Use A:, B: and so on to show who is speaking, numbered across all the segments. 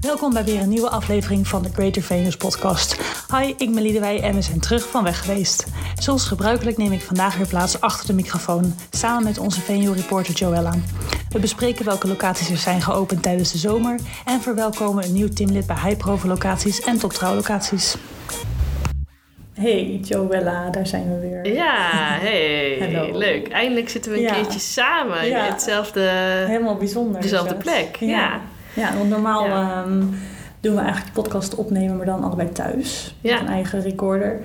A: Welkom bij weer een nieuwe aflevering van de Greater Venus podcast. Hi, ik ben Liedewij en we zijn terug van weg geweest. Zoals gebruikelijk neem ik vandaag weer plaats achter de microfoon, samen met onze venue reporter Joella. We bespreken welke locaties er zijn geopend tijdens de zomer en verwelkomen een nieuw teamlid bij high-profile locaties en toptrouwlocaties. Hey Joella, daar zijn we weer.
B: Ja, hey.
A: Hallo.
B: Leuk. Eindelijk zitten we een
A: Ja.
B: keertje samen
A: Ja.
B: in hetzelfde,
A: Helemaal bijzonder.
B: dezelfde
A: dus, hè?
B: plek. Ja.
A: Ja. Ja, want normaal
B: Ja.
A: ehm, doen we eigenlijk de podcast opnemen, maar dan allebei thuis.
B: Ja.
A: Met een eigen recorder.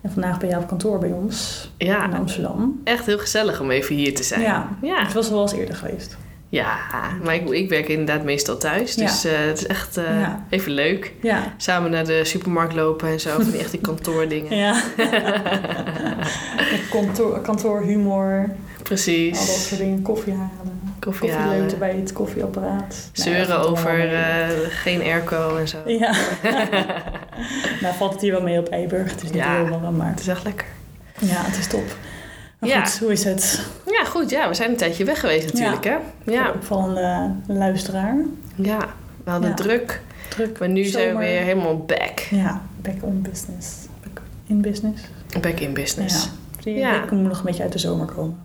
A: En vandaag ben jij op kantoor bij ons
B: Ja.
A: in Amsterdam.
B: Echt heel gezellig om even hier te zijn.
A: Nou. Ja.
B: Ja,
A: Het was wel eens eerder geweest.
B: Ja, maar ik, ik werk inderdaad meestal thuis.
A: Ja.
B: Dus eh, het is echt eh,
A: Ja.
B: even leuk.
A: Ja.
B: Samen naar de supermarkt lopen en zo. Van die echt die kantoordingen.
A: Ja. kantoor, kantoorhumor, al dat
B: Precies.
A: soort dingen. Koffie halen.
B: Koffie
A: Koffieleuten
B: halen.
A: bij het koffieapparaat. Nou ja,
B: Zeuren
A: dat valt
B: over
A: allemaal mee.
B: eh, geen airco en zo.
A: Ja. nou valt het hier wel mee op Eiburg. Het is niet
B: Ja.
A: heel warm, maar
B: Het is echt lekker.
A: ja, het is top. Maar
B: Ja.
A: goed, hoe is het?
B: Ja, goed. Ja, we zijn een tijdje weg geweest natuurlijk, hè?
A: Voor
B: Ja.
A: de opvallende luisteraar.
B: Ja, we hadden
A: Ja.
B: druk.
A: Druk.
B: Maar nu zijn we
A: zomer.
B: weer helemaal back.
A: Ja, back on business. Back in business.
B: Back in business.
A: Ja. Die-
B: Ja.
A: Ik moet nog een beetje uit de zomer komen.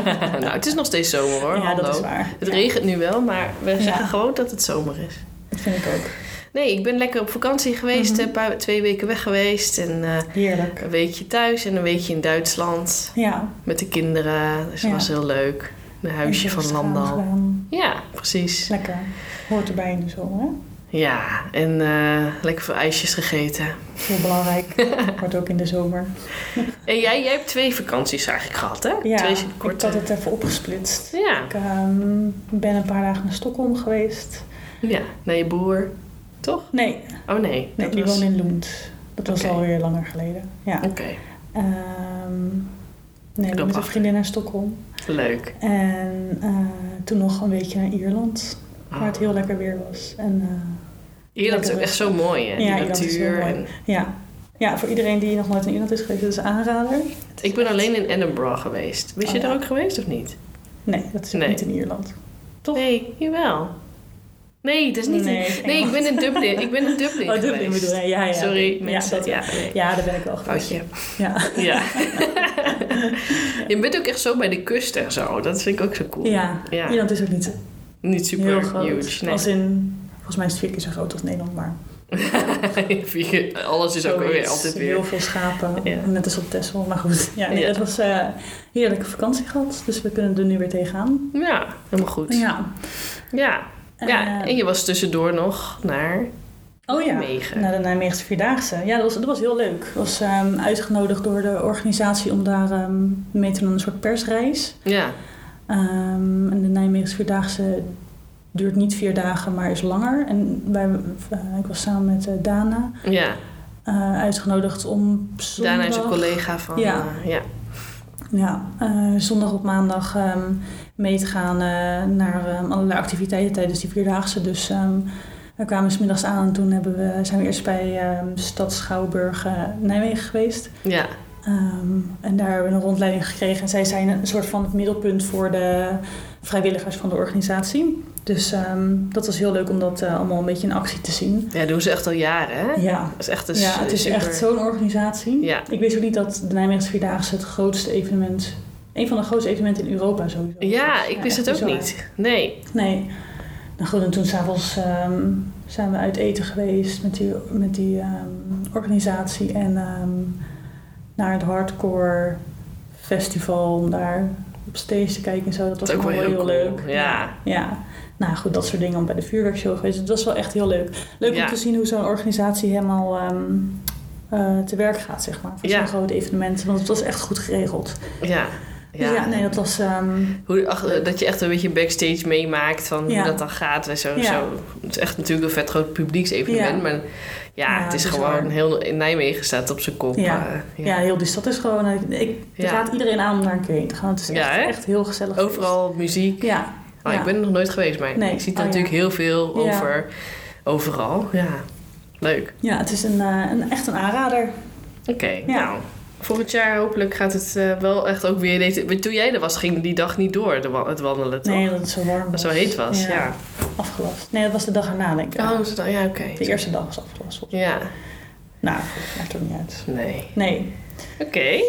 B: nou, het is nog steeds zomer hoor.
A: ja,
B: Hallo.
A: dat is waar.
B: Het
A: Ja,
B: regent nu wel, maar we
A: Ja.
B: zeggen gewoon dat het zomer is.
A: Dat vind ik ook.
B: Nee, ik ben lekker op vakantie geweest.
A: Mhm.
B: Een paar, twee weken weg geweest. En eh,
A: Heerlijk.
B: een weekje thuis en een weekje in Duitsland.
A: Ja.
B: Met de kinderen. Dus dat
A: Ja.
B: was heel leuk. Een huisje
A: En
B: van
A: rustig aan
B: Landal.
A: gedaan.
B: Ja, precies.
A: Lekker. Hoort erbij in de zomer. hè?
B: Ja, en eh, lekker veel ijsjes gegeten.
A: Heel belangrijk. Hoort ook in de zomer.
B: En jij, jij hebt twee vakanties eigenlijk gehad, hè?
A: Ja,
B: twee
A: ik
B: korte.
A: had het even opgesplitst.
B: Ja.
A: Ik ehm, ben een paar dagen naar Stockholm geweest.
B: ja, naar je boer. Toch?
A: Nee,
B: Oh nee.
A: nee
B: dat
A: die
B: was-
A: woont in Loend. Dat was
B: Oké.
A: alweer langer geleden. Ja.
B: Oké,
A: Ehm, nee,
B: Knap
A: met een
B: achter.
A: vriendin naar Stockholm.
B: leuk.
A: En eh, toen nog een weekje naar Ierland, waar het
B: Ah.
A: heel lekker weer was. En eh,
B: Ierland is ook echt zo mooi, hè? Die
A: Ja, Ierland is heel
B: natuur.
A: mooi.
B: en-
A: ja. ja, voor iedereen die nog nooit in Ierland is geweest, dat is een aanrader.
B: Ik ben alleen in Edinburgh geweest. Wist
A: Oh,
B: je
A: ja.
B: daar ook geweest of niet?
A: Nee, dat is ook
B: Nee.
A: niet in Ierland. Toch?
B: Nee, jawel. Nee, dat is niet...
A: Nee,
B: Nee, ik
A: Engeland.
B: ben in Dublin. Ik ben in Dublin
A: oh, Dublin
B: geweest.
A: bedoel je? Ja, ja.
B: Sorry,
A: Ja,
B: mensen.
A: dat,
B: Ja, Oh, nee.
A: ja, daar ben ik wel geweest.
B: Foutje.
A: Ja.
B: Ja. je bent ook echt zo bij de kust en zo. Dat vind ik ook zo cool.
A: ja,
B: Ja.
A: Ierland is ook niet
B: Niet
A: heel
B: super
A: groot.
B: huge. Nee.
A: Als in, volgens mij is het vier keer zo groot als Nederland, maar...
B: Vier- Alles is ook weer
A: Zoiets.
B: altijd
A: Heel
B: weer.
A: veel schapen,
B: Ja.
A: net als op Texel. Maar goed, ja, nee,
B: Ja.
A: dat was eh heerlijke vakantie gehad. Dus we kunnen er nu weer tegenaan.
B: Ja, helemaal goed. Ja.
A: Ja.
B: Ja.
A: Eh,
B: en je was tussendoor nog naar
A: oh ja,
B: Nijmegen.
A: naar de Nijmeegse Vierdaagse. Ja, dat was, dat was heel leuk. Ik was ehm, uitgenodigd door de organisatie om daar ehm, mee te doen aan een soort persreis.
B: Ja,
A: Ehm, en de Nijmeegse Vierdaagse duurt niet vier dagen, maar is langer. En wij, eh, ik was samen met eh, Dana
B: ja.
A: eh, uitgenodigd om op zondag...
B: Daarna is een collega van...
A: Ja.
B: eh, ja.
A: Ja, eh, zondag op maandag ehm, mee te gaan eh, naar ehm, allerlei activiteiten tijdens die vierdaagse. Dus ehm, we kwamen smiddags aan en toen hebben we, zijn we eerst bij ehm Stad Schouwburg eh, Nijmegen geweest.
B: ja.
A: Ehm, en daar hebben we een rondleiding gekregen. En zij zijn een soort van het middelpunt voor de vrijwilligers van de organisatie. Dus ehm, dat was heel leuk om dat eh, allemaal een beetje in actie te zien.
B: Ja, doen ze echt al jaren, hè?
A: Ja,
B: Dat is echt een
A: ja het is
B: super-
A: echt zo'n organisatie.
B: Ja,
A: Ik wist ook niet dat de Nijmeegse Vierdaagse het grootste evenement... een van de grootste evenementen in Europa sowieso.
B: ja
A: is.
B: ik wist
A: echt
B: het ook
A: bizar.
B: niet. Nee.
A: Nee. Nou goed, en toen s'avonds ehm zijn we uit eten geweest met die, met die ehm, organisatie. En ehm, naar het hardcore festival om daar op stage te kijken en zo. Dat was
B: Dat is ook wel heel,
A: leuk.
B: cool. Ja.
A: Ja, nou goed, dat soort dingen. Om bij de vuurwerkshow geweest. Het was wel echt heel leuk. Leuk
B: Ja.
A: om te zien hoe zo'n organisatie helemaal ehm, eh, te werk gaat, zeg maar. Voor
B: Ja.
A: zo'n groot evenement. Want het was echt goed geregeld.
B: Ja.
A: Ja, dus
B: Ja.
A: ja nee, dat was... ehm,
B: Hoe, ach, eh, dat je echt een beetje backstage meemaakt van
A: Ja.
B: hoe dat dan gaat en zo.
A: Ja.
B: zo. Het is echt natuurlijk een vet groot publieksevenement.
A: Ja.
B: Maar ja,
A: Ja,
B: het is
A: bizar.
B: gewoon heel... In Nijmegen staat op zijn kop.
A: Ja.
B: eh,
A: ja. heel dus dat is gewoon... Ik, ik
B: Ja.
A: raad iedereen aan om daar een keer heen te gaan. Het is
B: Ja,
A: echt,
B: hè?
A: echt heel gezellig.
B: Overal muziek.
A: geweest. Ja.
B: Ah,
A: ja.
B: Ik ben er nog nooit geweest, maar
A: Nee.
B: ik zie er
A: Oh, ja.
B: natuurlijk heel veel
A: Ja.
B: over. Overal. Ja. Leuk.
A: ja, het is een, eh, een, echt een aanrader.
B: Oké,
A: Ja.
B: nou. Volgend jaar hopelijk gaat het eh, wel echt ook weer... Deze, toen jij er was, ging die dag niet door, de wa- het wandelen, toch?
A: Nee, dat het zo warm was.
B: Dat het zo heet was, ja.
A: afgelast. Nee, dat was de dag erna, denk ik.
B: Oh, is dat- ja, oké.
A: De eerste dag was afgelast. volgens
B: Ja,
A: mij. Nou, goed, maakt ook niet uit.
B: nee.
A: Nee.
B: Oké.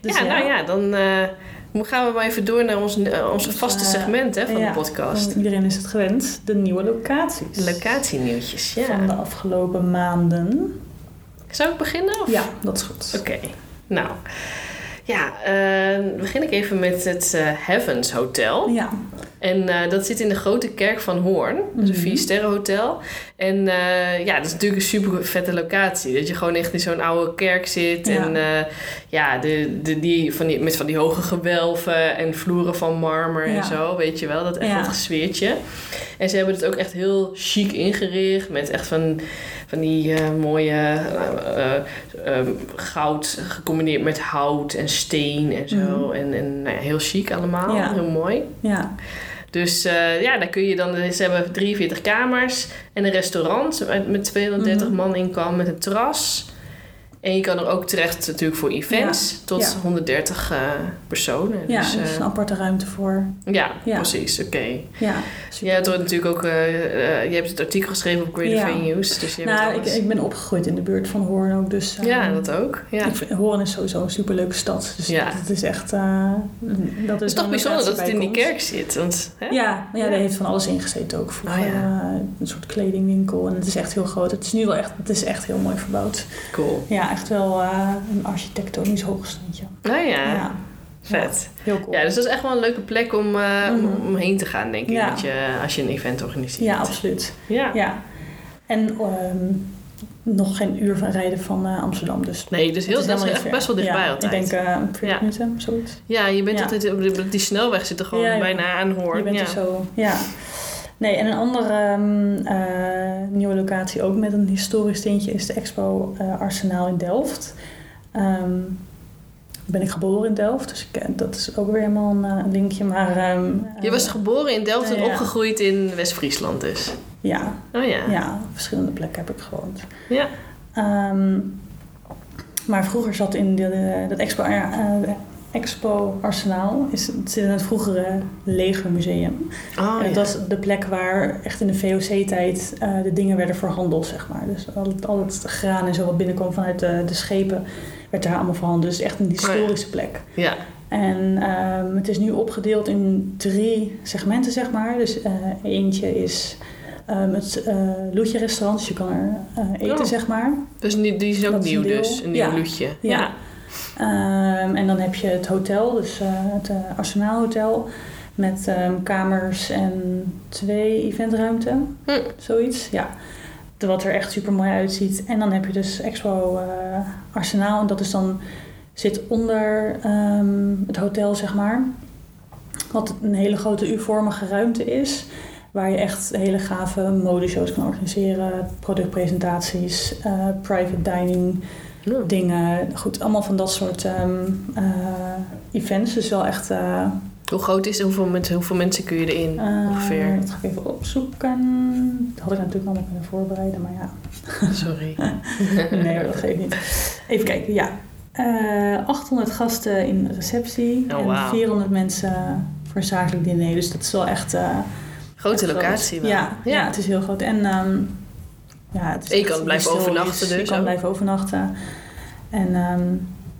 A: Dus
B: ja,
A: ja.
B: nou ja, dan eh, mo- gaan we maar even door naar ons, eh, onze vaste
A: Eh,
B: segment hè, van
A: ja,
B: de podcast.
A: want Iedereen is het gewend. De nieuwe locaties.
B: De locatienieuwtjes, ja.
A: Van de afgelopen maanden.
B: Zou ik beginnen? Of?
A: Ja, dat is goed.
B: Oké, nou. Ja, eh, begin ik even met het eh, Heavens Hotel.
A: Ja.
B: En eh, dat zit in de grote kerk van Hoorn. Dat is een
A: Mhm.
B: viersterrenhotel. En eh, ja, dat is natuurlijk een super vette locatie. Dat je gewoon echt in zo'n oude kerk zit.
A: Ja.
B: En eh, ja, de, de, die, van die, met van die hoge gewelven en vloeren van marmer
A: Ja.
B: en zo. Weet je wel, dat echt
A: Ja.
B: dat sfeertje. En ze hebben het ook echt heel chic ingericht. Met echt van, van die eh, mooie eh, eh, ehm, goud gecombineerd met hout en steen en zo.
A: Mhm.
B: En, en nou ja, heel chic allemaal.
A: Ja.
B: Heel mooi.
A: Ja.
B: Dus eh, ja, daar kun je dan... Ze hebben 43 kamers en een restaurant met- met 230
A: Mhm.
B: man in kan met een terras. En je kan er ook terecht natuurlijk voor events tot
A: ja.
B: 130 eh, personen.
A: Ja,
B: dus,
A: er is
B: eh,
A: een aparte ruimte voor.
B: ja,
A: ja.
B: precies. Oké.
A: Ja.
B: Jij hebt er natuurlijk ook... eh, eh, je hebt het artikel geschreven op Greater
A: Ja.
B: Venues. Dus je hebt
A: Nou, ik,
B: alles.
A: ik ben opgegroeid in de buurt van Hoorn ook, dus... eh,
B: ja, dat ook. Ja.
A: Ik vind- Hoorn is sowieso een superleuke stad. Dus
B: Ja.
A: het is echt... eh, dat
B: Het
A: is
B: is toch bijzonder dat het in die kerk zit. Want, hè?
A: Ja, maar ja,
B: Ja.
A: daar heeft van alles in gezeten ook. Vroeger
B: Oh ja.
A: eh, een soort kledingwinkel en het is echt heel groot. Het is nu wel echt, het is echt heel mooi verbouwd.
B: Cool.
A: Ja, echt wel eh, een architectonisch hoogstandje.
B: Nou ja,
A: Ja.
B: vet.
A: heel cool.
B: Ja, dus dat is echt wel een leuke plek om, eh, om-
A: Mhm.
B: om heen te gaan, denk ik.
A: Ja.
B: dat je, als je een event organiseert.
A: Ja, absoluut.
B: Ja.
A: Ja. En ehm, nog geen uur van rijden van eh, Amsterdam, dus...
B: Nee, dus
A: Het
B: heel, dat
A: is
B: is,
A: helemaal niet
B: echt
A: ver.
B: best wel dichtbij
A: ja,
B: altijd.
A: Ik denk eh 40
B: Ja.
A: minuten, zoiets.
B: ja, je bent
A: Ja.
B: altijd op, de- op die snelweg zitten gewoon
A: Ja, ja.
B: bijna aan hoor.
A: Je bent dus
B: ja.
A: er zo, ja. Nee, en een andere ehm, eh, nieuwe locatie, ook met een historisch tintje, is de Expo eh, Arsenaal in Delft. Ehm, ben ik geboren in Delft, dus ik, eh, dat is ook weer helemaal een eh, linkje. Maar, ehm,
B: Je was
A: eh,
B: geboren in Delft en
A: Ja, ja.
B: opgegroeid in West-Friesland dus.
A: eh, ja,
B: Oh ja.
A: ja. op verschillende plekken heb ik gewoond.
B: Ja.
A: Ehm, maar vroeger zat in de, de- dat Expo, eh, eh, Expo Arsenaal, is, het zit in het vroegere legermuseum.
B: Oh,
A: Ja,
B: ja.
A: dat is de plek waar echt in de VOC-tijd eh, de dingen werden verhandeld, zeg maar. Dus al het, al het graan en zo wat binnenkwam vanuit de, de schepen, werd daar allemaal verhandeld. Dus echt een historische plek.
B: ja.
A: En ehm, het is nu opgedeeld in drie segmenten, zeg maar. Dus eh, eentje is ehm, het eh loetje-restaurant, dus je kan er eh, eten,
B: Oh.
A: zeg maar.
B: Dus die, die is ook
A: Dat is een
B: nieuw
A: deel.
B: dus. Een nieuw
A: Ja.
B: loetje.
A: Ja. Ehm, en dan heb je het hotel, dus eh, het eh, Arsenaal Hotel. Met ehm, kamers en twee eventruimten.
B: Hm.
A: Zoiets, ja. De- Wat er echt super mooi uitziet. En dan heb je dus Expo eh, Arsenaal. En dat is dan, zit onder ehm, het hotel, zeg maar. Wat een hele grote U-vormige ruimte is. Waar je echt hele gave modeshows kan organiseren. Productpresentaties, eh, private dining
B: Ja.
A: dingen. Goed, allemaal van dat soort ehm, eh, events. Dus wel echt... eh, eh,
B: Hoe groot is het? Hoeveel, mensen- hoeveel mensen kun je erin
A: Ah.
B: ongeveer?
A: Dat ga ik even opzoeken. Dat had ik natuurlijk allemaal kunnen voorbereiden, maar ja.
B: Sorry.
A: Nee, hoor, dat geeft niet. Even kijken, ja. Eh, 800 gasten in receptie.
B: Oh,
A: en
B: wauw.
A: 400 mensen voor zakelijk diner. Dus dat is wel echt... eh,
B: Grote
A: echt groot.
B: locatie wel.
A: Ja, ja.
B: ja.
A: het is heel groot. En ehm, ja, het is
B: En je kan
A: echt
B: blijven
A: historisch.
B: overnachten
A: Je
B: dus
A: kan
B: ook.
A: blijven overnachten. En ehm,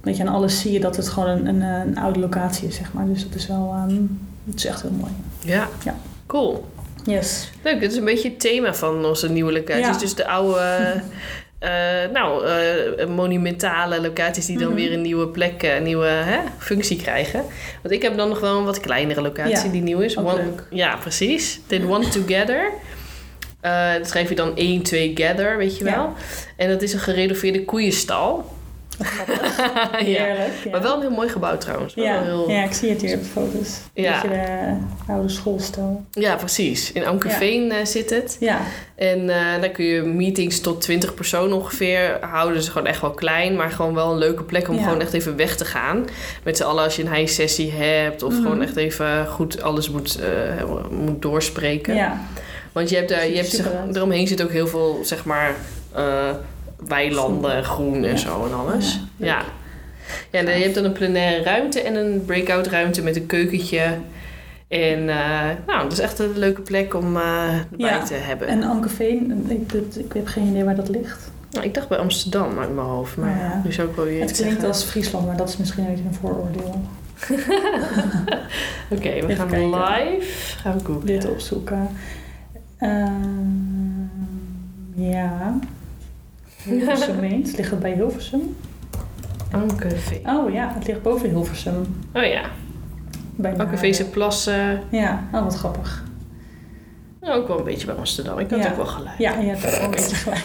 A: weet je, aan alles zie je dat het gewoon een, een, eh, een oude locatie is, zeg maar. Dus dat is wel, ehm, het is echt heel mooi.
B: Ja.
A: Ja.
B: Cool.
A: Yes.
B: Leuk, dit is een beetje het thema van onze nieuwe locaties.
A: Ja.
B: Dus de oude, eh, nou, eh, monumentale locaties die dan
A: Mhm.
B: weer een nieuwe plek, eh, een nieuwe hè, functie krijgen. Want ik heb dan nog wel een wat kleinere locatie
A: Ja,
B: die nieuw is.
A: ook
B: One-
A: leuk.
B: Ja, precies. Dit One Together. Eh dat schrijf je dan 1, 2, gather, weet je
A: Ja.
B: wel. En dat is een gerenoveerde koeienstal. ja.
A: Heerlijk. Ja.
B: Maar wel een heel mooi gebouw trouwens. Wel
A: ja.
B: heel...
A: ja, ik zie het hier op de foto's.
B: Ja.
A: Beetje de oude schoolstel.
B: ja, precies. In Amkerveen eh, zit het.
A: Ja,
B: En eh, dan kun je meetings tot 20 personen ongeveer houden. Dus gewoon echt wel klein, maar gewoon wel een leuke plek om
A: Ja.
B: gewoon echt even weg te gaan. Met z'n allen als je een high sessie hebt of
A: Mhm.
B: gewoon echt even goed alles moet, eh, moet doorspreken.
A: ja.
B: Want je hebt, daar, je hebt
A: Super
B: zeg-
A: uit.
B: eromheen zit ook heel veel, zeg maar, eh, weilanden, groen en
A: Ja.
B: zo en alles.
A: Ja.
B: Ja. ja. eh, en dan- je hebt dan een plenaire ruimte en een breakout ruimte met een keukentje En eh, nou, dat is echt een leuke plek om eh erbij
A: Ja.
B: te hebben.
A: En Ankeveen, ik, dat- ik heb geen idee waar dat ligt.
B: Nou, ik dacht bij Amsterdam uit mijn hoofd, maar
A: Nou ja.
B: nu zou ik wel weer
A: Het
B: iets
A: klinkt
B: zeggen.
A: als Friesland, maar dat is misschien een beetje een vooroordeel.
B: Oké, we
A: Even
B: gaan
A: kijken.
B: live. Gaan we googlen.
A: Dit opzoeken. Ehm, ja. Hilversum eens. Ligt het bij Hilversum?
B: Ankeveen.
A: Oh ja, het ligt boven Hilversum.
B: Oh ja,
A: Bij
B: Ankeveense plassen.
A: Ja, oh, wat grappig.
B: Nou, ook wel een beetje bij Amsterdam. Ik had
A: Ja.
B: ook wel gelijk.
A: Ja, je hebt ook wel een beetje gelijk.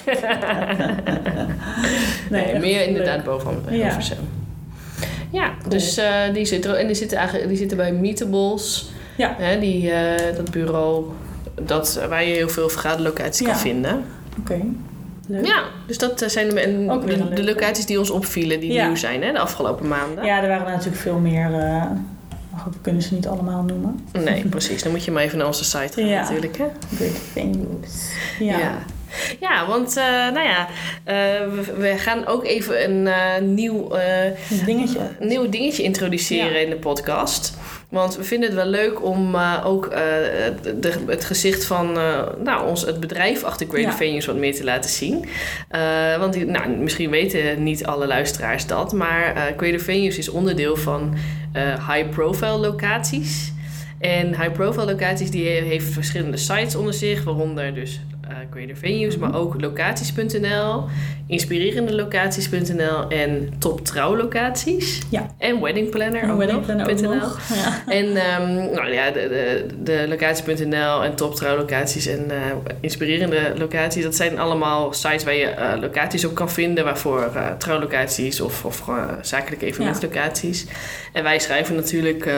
B: Nee,
A: echt
B: meer
A: leuk.
B: inderdaad boven
A: Ja.
B: Hilversum. Ja,
A: Cool.
B: dus eh, die zitten er- en die zitten eigenlijk die zitten bij Meetables.
A: Ja.
B: Hè, die, eh, dat bureau dat, eh, waar je heel veel vergaderlocaties
A: Ja.
B: kan vinden.
A: Oké. Leuk.
B: Ja, dus dat eh, zijn de, en
A: Ook weer een
B: de, de
A: leuke.
B: locaties die ons opvielen, die
A: Ja.
B: nieuw zijn hè, de afgelopen maanden.
A: Ja, er waren er natuurlijk veel meer. eh, maar goed, we kunnen ze niet allemaal noemen.
B: Nee, precies. Dan moet je maar even naar onze site gaan
A: Ja.
B: natuurlijk. Hè?
A: Great venues. Ja.
B: ja. Ja, want eh, nou ja, eh, we, we gaan ook even een eh, nieuw... eh,
A: Een dingetje.
B: een nieuw dingetje introduceren
A: Ja.
B: in de podcast. Want we vinden het wel leuk om eh, ook eh, de, het gezicht van eh, nou, ons, het bedrijf achter Great
A: Ja.
B: Venues wat meer te laten zien. Eh, want die- nou, misschien weten niet alle luisteraars dat, maar eh Great Venues is onderdeel van eh, high profile locaties. En high profile locaties die he- heeft verschillende sites onder zich, waaronder dus eh Creator Venues,
A: Mhm.
B: maar ook locaties.nl, inspirerende locaties.nl en top trouwlocaties.
A: Ja.
B: En wedding planner.
A: Een
B: ook
A: wedding
B: nog,
A: planner ook
B: .nl.
A: nog. Ja.
B: En ehm, nou ja, de, de, de locatie.nl en top trouwlocaties en eh, inspirerende locaties, dat zijn allemaal sites waar je eh, locaties op kan vinden, waarvoor eh, trouwlocaties of, of eh, zakelijke evenementlocaties. En wij schrijven natuurlijk eh,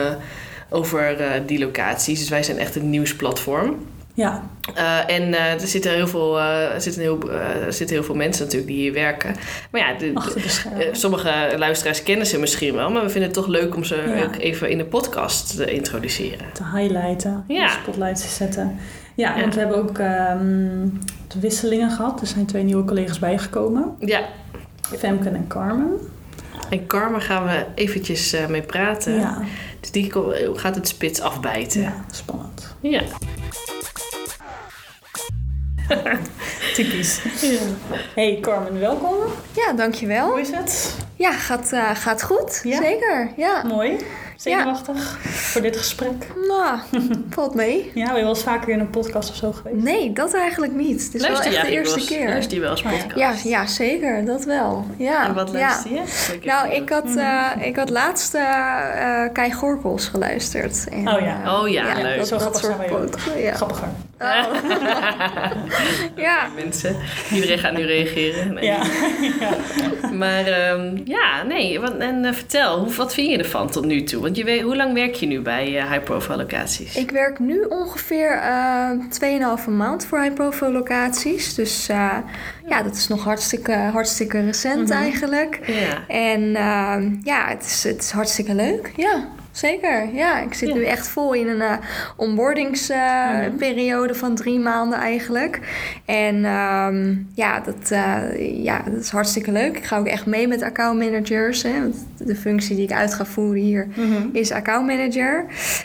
B: over eh, die locaties, dus wij zijn echt een nieuwsplatform.
A: ja.
B: Eh, en eh, er zitten heel veel, eh, er zitten heel, eh, er zitten heel veel mensen natuurlijk die hier werken. Maar ja, de-
A: Achter de schermen.
B: eh, sommige luisteraars kennen ze misschien wel, maar we vinden het toch leuk om ze
A: Ja.
B: ook even in de podcast te introduceren.
A: te highlighten,
B: Ja.
A: de spotlights te zetten. Ja,
B: Ja.
A: want we hebben ook ehm, de wisselingen gehad. Er zijn twee nieuwe collega's bijgekomen,
B: Ja,
A: Femke en Carmen.
B: en Karma gaan we eventjes eh, mee praten.
A: Ja,
B: Dus die ko- gaat het spits afbijten. Ja.
A: ja, spannend.
B: Typisch.
A: Hey Carmen, welkom.
C: Ja,
A: Hoe
C: dankjewel.
A: is het?
C: Ja, gaat, eh, gaat goed.
A: Ja?
C: Zeker. Ja.
A: Mooi. Zenuwachtig voor dit gesprek.
C: Nou, valt mee.
A: Ja, ben je wel eens vaker in een podcast of zo geweest?
C: Nee, dat eigenlijk niet. Het is
B: Luister
C: wel
B: jij
C: echt de eerste
B: wel eens-
C: keer.
B: Luister je wel eens
A: Oh ja.
B: podcast?
C: Ja, ja, zeker. Dat wel. Ja.
B: En wat luister je?
C: ja. Nou, ik had,
A: Mhm.
C: eh, ik had laatst eh eh, Kai Gorkels geluisterd. En,
A: Oh ja.
C: eh,
B: Oh ja, leuk.
C: Dat,
A: Zo
C: dat
A: grappig zijn
C: soort
A: wij ook.
C: podcasts. Ja.
A: Grappiger.
C: Oh. ja.
B: Mensen, iedereen gaat nu reageren. Nee.
A: Ja. ja.
B: Maar ehm, ja, nee. Wat, en eh, vertel, hoe, wat vind je ervan tot nu toe? Want je weet, hoe lang werk je nu bij eh, high profile locaties?
C: Ik werk nu ongeveer eh 2,5 maand voor high-profile locaties. Dus eh, ja, dat is nog hartstikke, hartstikke recent
B: Mhm.
C: eigenlijk.
B: Ja.
C: En ehm, ja, het is, het is hartstikke leuk. Ja, zeker. Ja, ik zit
B: Ja.
C: nu echt vol in een eh, onboardingsperiode van drie maanden eigenlijk. En ehm, ja, dat, eh, ja, dat is hartstikke leuk. Ik ga ook echt mee met account managers. Hè, want de functie die ik uit ga voeren hier
A: Mhm.
C: is account manager.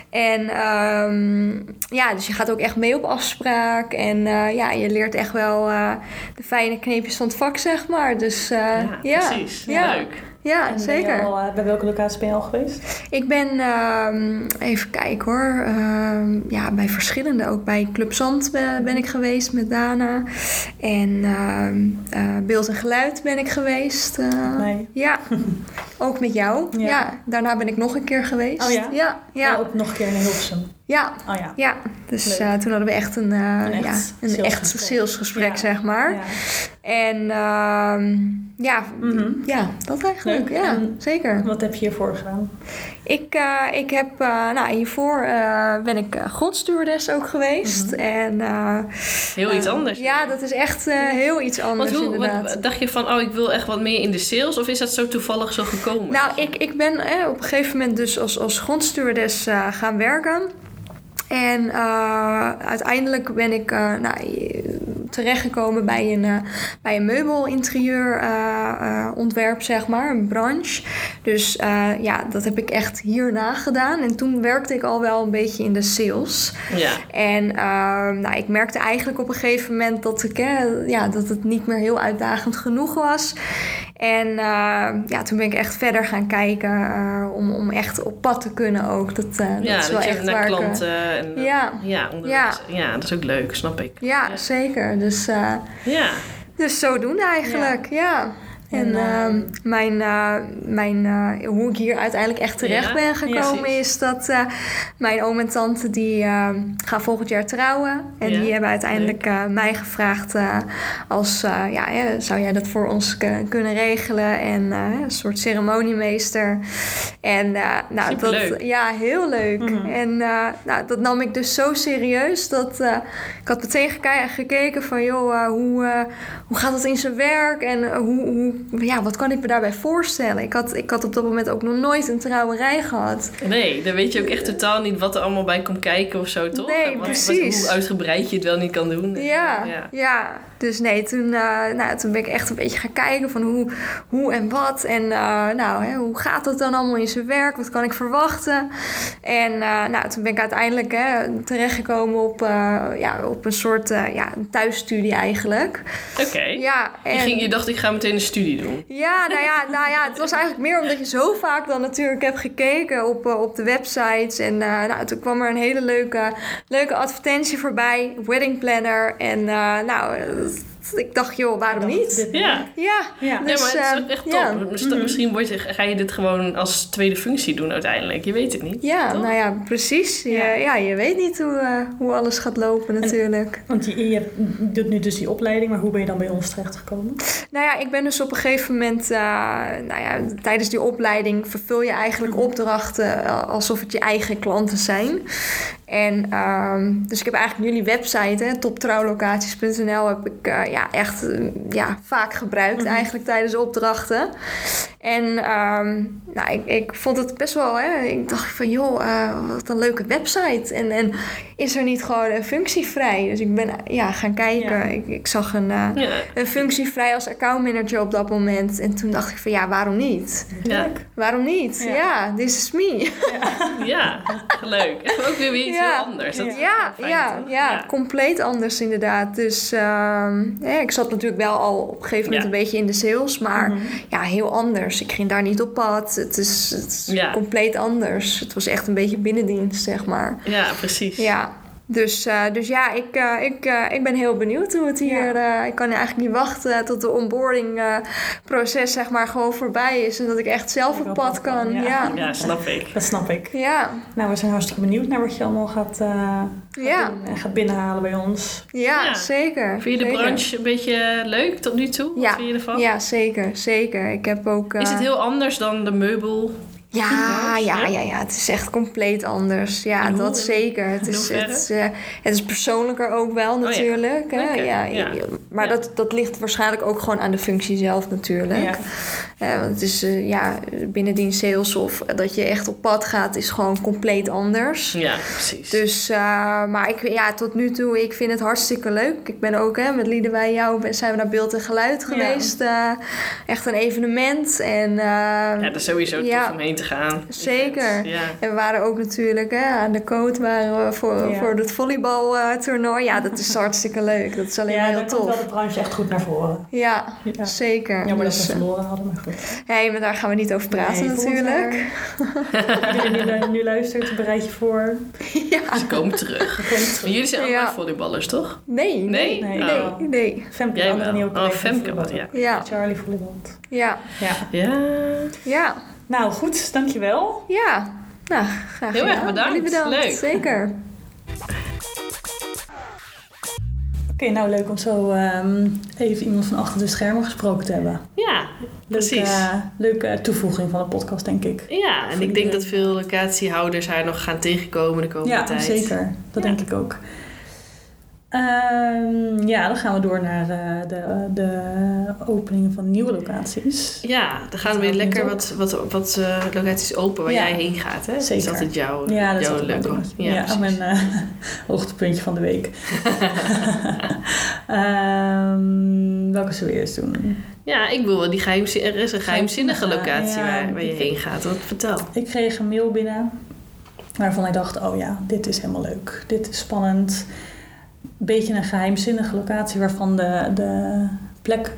C: En ehm, ja, dus je gaat ook echt mee op afspraak. En eh, ja, je leert echt wel eh, de fijne kneepjes van het vak, zeg maar. Dus eh,
B: Ja,
C: ja.
B: precies.
C: ja.
B: Leuk.
C: Ja,
A: En ben je
C: zeker.
A: al, eh, bij welke locatie ben je al geweest?
C: Ik ben, ehm, even kijken hoor, ehm, ja, bij verschillende. Ook bij Club Zand ben, ben ik geweest met Dana. En ehm, eh, Beeld en Geluid ben ik geweest. eh,
A: Nee.
C: Ja, ook met jou.
A: Ja.
C: Ja. daarna ben ik nog een keer geweest.
A: Oh ja?
C: Ja, ja,
A: Oh, ook nog een keer in Hilversum.
C: ja.
A: Oh ja.
C: ja. Dus
A: Leuk.
C: eh, toen hadden we echt een, eh,
A: echt
C: ja, een
A: salesgesprek.
C: echt salesgesprek,
A: Ja.
C: zeg maar.
A: Ja.
C: En ehm, ja,
A: Mhm.
C: ja, dat
A: Leuk.
C: eigenlijk. Ja,
A: En-
C: zeker.
A: Wat heb je hiervoor gedaan?
C: Ik, eh, ik heb, eh, nou hiervoor eh, ben ik eh, grondstewardess ook geweest. En, eh,
B: Mhm. Heel iets
C: eh,
B: anders.
C: Ja, dat is echt eh, heel iets
B: Want
C: anders
B: hoe,
C: inderdaad.
B: wat, dacht je van, oh, ik wil echt wat meer in de sales? Of is dat zo toevallig zo gekomen?
C: nou, ik, ik ben eh, op een gegeven moment dus als, als grondstewardess eh, gaan werken. En eh, uiteindelijk ben ik, eh, nou, terechtgekomen bij een, eh, bij een meubelinterieurontwerp, zeg maar, een branche. Dus eh, ja, dat heb ik echt hierna gedaan. En toen werkte ik al wel een beetje in de sales.
B: Ja.
C: En ehm, nou, ik merkte eigenlijk op een gegeven moment dat, ik, hè, ja, dat het niet meer heel uitdagend genoeg was. En eh, ja, toen ben ik echt verder gaan kijken eh, om, om echt op pad te kunnen ook. Dat, eh,
B: ja,
C: dat is wel
B: je
C: echt
B: naar
C: waar ik, eh,
B: klanten en eh,
C: ja.
B: ja, onderwijs. Ja. dat is ook leuk, snap ik.
C: Ja, zeker. Dus, eh
B: Ja,
C: dus zodoende eigenlijk, ja.
A: En,
C: En ehm, mijn, eh, mijn, eh, hoe ik hier uiteindelijk echt terecht
B: Ja,
C: ben gekomen
B: precies.
C: is dat eh, mijn oom en tante die eh, gaan volgend jaar trouwen. En
B: Ja,
C: die hebben uiteindelijk eh, mij gevraagd eh, als, eh, ja, hè, zou jij dat voor ons k- kunnen regelen? En eh, een soort ceremoniemeester. En eh, nou, dat,
B: Superleuk.
C: ja, heel leuk. En eh, nou, dat nam ik dus zo serieus dat eh, ik had meteen geke- gekeken van joh, eh, hoe, eh, hoe gaat dat in zijn werk en eh, hoe, hoe, ja, wat kan ik me daarbij voorstellen? Ik had, ik had op dat moment ook nog nooit een trouwerij gehad.
B: nee, dan weet je ook echt totaal niet wat er allemaal bij komt kijken of zo, toch?
C: Nee,
B: Wat- wat-
C: precies.
B: hoe uitgebreid je het wel niet kan doen.
C: Ja, ja.
B: ja.
C: Dus nee, toen, eh, nou, toen ben ik echt een beetje gaan kijken van hoe, hoe en wat. En eh, nou, hè, hoe gaat dat dan allemaal in zijn werk? Wat kan ik verwachten? En eh, nou, toen ben ik uiteindelijk hè, terechtgekomen op, eh, ja, op een soort eh, ja, een thuisstudie eigenlijk.
B: Oké.
C: Ja,
B: Je, ging, je dacht, ik ga meteen een studie doen.
C: Ja, nou ja, nou ja, het was eigenlijk meer omdat je zo vaak dan natuurlijk hebt gekeken op, eh, op de websites. En eh, nou, toen kwam er een hele leuke, leuke advertentie voorbij, wedding planner. En eh, nou, eh, ik dacht, joh, waarom niet?
B: Ja.
C: Ja,
A: Ja.
B: Nee,
C: dus,
B: maar het is
C: eh,
B: echt top.
C: ja.
B: Mis- Misschien word je, ga je dit gewoon als tweede functie doen uiteindelijk. Je weet het niet.
C: Ja,
B: Toch?
C: nou ja, precies. Je, ja.
A: Ja.
C: je weet niet hoe, eh, hoe alles gaat lopen natuurlijk.
A: Want je, je hebt- doet nu dus die opleiding, maar hoe ben je dan bij ons terechtgekomen?
C: Nou ja, ik ben dus op een gegeven moment, eh, nou ja, tijdens die opleiding vervul je eigenlijk opdrachten eh, alsof het je eigen klanten zijn. En ehm, dus ik heb eigenlijk jullie website, hè, toptrouwlocaties.nl, heb ik eh, ja, echt eh, ja, vaak gebruikt eigenlijk tijdens opdrachten. En ehm, nou, ik, ik vond het best wel, hè, ik dacht van joh, eh, wat een leuke website. En, en is er niet gewoon een functie vrij? Dus ik ben ja, gaan kijken.
A: Ja.
C: Ik, ik zag een... eh,
B: Ja.
C: een functie vrij als accountmanager op dat moment. En toen dacht ik van ja, waarom niet?
B: Ja.
C: Waarom niet? Ja,
A: Ja.
C: this is me.
B: ja, leuk. Ook weer weer iets
C: Ja.
B: heel anders. Dat
C: Ja,
B: is
C: ja,
B: fijn,
C: ja,
B: toch?
C: compleet anders inderdaad. Dus ehm, ja, ik zat natuurlijk wel al op een gegeven moment
B: Ja. Mhm.
C: een beetje in de sales, maar ja, heel anders. Ik ging daar niet op pad. Het is, het is
B: Ja.
C: compleet anders. Het was echt een beetje binnendienst, zeg maar.
B: Ja, precies.
C: Ja, dus, eh, dus ja, ik, eh, ik, eh, ik ben heel benieuwd hoe het hier... eh, ik kan eigenlijk niet wachten tot de onboarding eh, proces zeg maar gewoon voorbij is. En dat ik echt zelf
A: Ik
C: op
A: ook
C: pad
A: op pad,
C: kan.
A: ja.
C: Ja,
B: Ja, snap ik.
A: Dat snap ik.
C: ja,
A: Nou, we zijn hartstikke benieuwd naar wat je allemaal gaat, eh, gaat
C: Ja.
A: doen en gaat binnenhalen bij ons.
C: ja,
B: Ja.
C: zeker.
B: Vind je de
C: zeker.
B: branche een beetje leuk tot nu toe? Wat
C: Ja.
B: vind je ervan?
C: Ja, zeker, zeker. Ik heb ook... eh,
B: Is het heel anders dan de meubel?
C: Ja, ja,
B: Ja?
C: ja, ja. Het is echt compleet anders. Ja,
B: En hoe-
C: dat zeker. Het
B: in
C: is,
B: hoeverre?
C: het, is, eh, het is persoonlijker ook wel
B: ja.
C: natuurlijk. hè.
B: Lekker,
C: ja.
B: ja.
C: je- Maar
B: Ja.
C: Dat, dat ligt waarschijnlijk ook gewoon aan de functie zelf natuurlijk.
A: Ja.
C: Eh, want het is eh, ja, binnendienst sales of dat je echt op pad gaat is gewoon compleet anders.
B: Ja, precies.
C: Dus, eh, maar ik, ja, tot nu toe, ik vind het hartstikke leuk. Ik ben ook hè, met Lieden bij jou ben- zijn we naar Beeld en Geluid geweest. Eh, echt een evenement. En, eh,
B: ja, dat is sowieso
C: ja.
B: tof om heen te gaan.
C: Zeker.
B: Ja.
C: en we waren ook natuurlijk hè, aan de coat waren we voor,
A: Ja.
C: voor het volleybaltoernooi. ja, dat is hartstikke leuk. Dat is alleen maar
A: ja,
C: heel
A: daar komt wel
C: tof.
A: de branche echt goed naar voren.
C: Ja,
A: Ja.
C: zeker.
A: Jammer dat
C: Dus,
A: we
C: eh,
A: verloren hadden, maar goed.
C: hey, maar daar gaan we niet over praten
A: Nee, volgend
C: natuurlijk.
A: jaar. Iedereen die lu- nu luistert, bereid je voor.
C: Ja,
B: Ze komen terug. Maar jullie zijn
C: Ja.
B: allemaal volleyballers, toch?
C: nee, nee,
B: Nee?
A: Nee.
B: Oh.
C: nee, nee.
A: Femke, de
B: Jij
A: andere
B: wel.
A: nieuwe
B: Oh,
A: collega
B: Femke, wat,
A: voetballen.
B: ja.
C: Ja,
A: Charlie Volleyland.
C: ja,
A: Ja.
B: Ja.
C: ja,
A: Nou, goed. Dankjewel.
C: ja. Nou, graag
B: Heel erg
C: gedaan.
B: bedankt.
C: Jullie bedankt.
B: Leuk.
C: Zeker.
A: Oké, nou leuk om zo ehm, even iemand van achter de schermen gesproken te hebben.
B: Ja,
A: Leuke,
B: precies.
A: leuke toevoeging van de podcast, denk ik. eh,
B: Ja, en ik denk dat veel locatiehouders haar nog gaan tegenkomen de komende
A: ja,
B: tijd.
A: zeker. Dat
B: Ja.
A: denk ik ook. Ehm, ja, dan gaan we door naar eh, de, de openingen van nieuwe locaties.
B: Ja, dan gaan
A: Dat
B: weer
A: houdt
B: lekker
A: niet
B: wat, wat, wat eh, locaties open waar
A: Ja.
B: jij heen gaat. Hè? Dat is
A: Zeker.
B: altijd jouw,
A: Ja, dat is
B: jouw
A: altijd
B: leuke.
A: mijn dingetje. Ja,
B: precies.
A: mijn eh, hoogtepuntje van de week. Eh, moesten Ehm, we eerst doen.
B: Ja, ik wil wel die geheimzin, er is een geheimzinnige locatie
A: Ja,
B: waar, waar je
A: ik-
B: heen gaat. Wat vertel.
A: Ik kreeg een mail binnen waarvan ik dacht, oh ja, dit is helemaal leuk. Dit is spannend. Beetje een geheimzinnige locatie waarvan de, de plek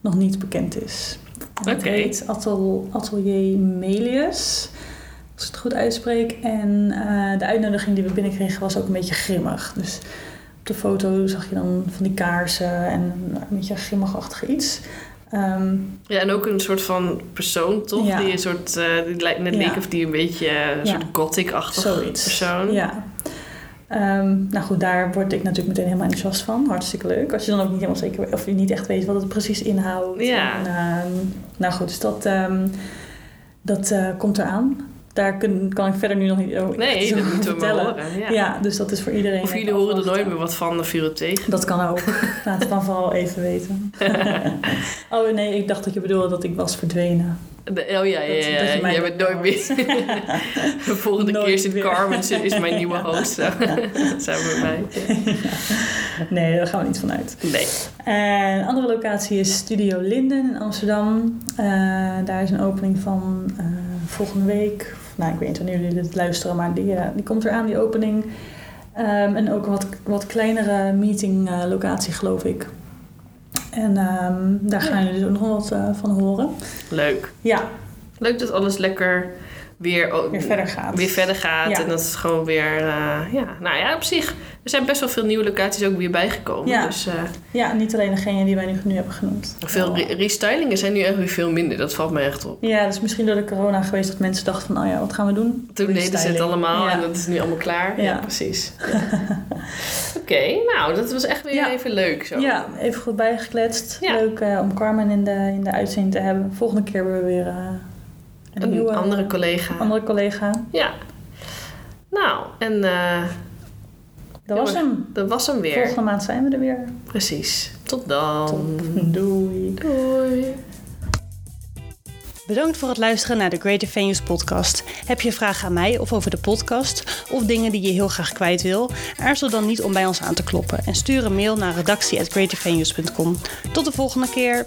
A: nog niet bekend is. En Het
B: Oké.
A: heet Atel, Atelier Melius, als ik het goed uitspreek. En eh, de uitnodiging die we binnenkregen was ook een beetje grimmig. Dus op de foto zag je dan van die kaarsen en een beetje grimmigachtig iets. Ehm,
B: Ja, en ook een soort van persoon, toch?
A: Ja.
B: Die een soort, eh, die lijkt net
A: Ja.
B: leek of die een beetje eh, een
A: Ja.
B: soort gothic-achtig
A: Zoiets.
B: persoon.
A: Ja. Ehm, nou goed, daar word ik natuurlijk meteen helemaal enthousiast van. Hartstikke leuk. Als je dan ook niet helemaal zeker weet- of je niet echt weet wat het precies inhoudt.
B: Ja.
A: En, ehm, nou goed, dus dat, ehm, dat eh, komt eraan. Daar kun, kan ik verder nu nog niet over
B: Nee, dat moeten we maar horen.
A: Ja.
B: Ja.
A: dus dat is voor iedereen.
B: Of jullie
A: even
B: horen er
A: afwachten.
B: nooit meer wat van, dan viel het tegen.
A: Dat kan ook. Laat het dan vooral even weten. oh nee, ik dacht dat je bedoelde dat ik was verdwenen.
B: De- oh ja, ja,
A: Dat-
B: ja.
A: dat je mij
B: Jij
A: niet
B: bent nooit meer. De volgende keer
A: Nooit
B: zit
A: weer.
B: Carmen, ze is mijn nieuwe host. Samen met mij.
A: Nee, daar gaan we niet van uit.
B: Nee.
A: En een andere locatie is Studio Linden in Amsterdam. Eh, daar is een opening van eh, volgende week. Nou, ik weet niet wanneer jullie dit luisteren, maar die, eh, die komt eraan, die opening. Ehm, en ook een wat, wat kleinere meeting eh, locatie, geloof ik. En ehm, daar gaan jullie dus ook nog wat eh, van horen.
B: Leuk.
A: Ja,
B: Leuk dat alles lekker weer, o-
A: weer verder gaat.
B: weer verder gaat.
A: Ja.
B: En dat het gewoon weer... eh, ja, nou ja, op zich. Er zijn best wel veel nieuwe locaties ook weer bijgekomen.
A: Ja.
B: Dus eh,
A: Ja, niet alleen degene die wij nu, nu hebben genoemd.
B: veel re- restylingen zijn nu echt weer veel minder. Dat valt me echt op.
A: Ja, dat is misschien door de corona geweest dat mensen dachten van, oh ja, wat gaan we doen?
B: Toen deden ze het
A: Restyling.
B: allemaal
A: Ja.
B: en dat is nu allemaal klaar.
A: Ja.
B: precies. Oké, nou, dat was echt weer
A: Ja.
B: even leuk zo.
A: Ja, even goed bijgekletst.
B: Ja.
A: Leuk eh, om Carmen in de, in de uitzending te hebben. Volgende keer hebben we weer eh, een,
B: Een
A: nieuwe
B: andere collega.
A: andere collega.
B: Ja. Nou, en eh,
A: Dat was hem.
B: dat was hem weer.
A: Volgende maand zijn we er weer.
B: Precies. Tot dan.
A: Doei.
B: Doei.
D: Bedankt voor het luisteren naar de Greater Venues podcast. Heb je vragen aan mij of over de podcast of dingen die je heel graag kwijt wil? Aarzel dan niet om bij ons aan te kloppen en stuur een mail naar redactie@greatervenues.com. Tot de volgende keer.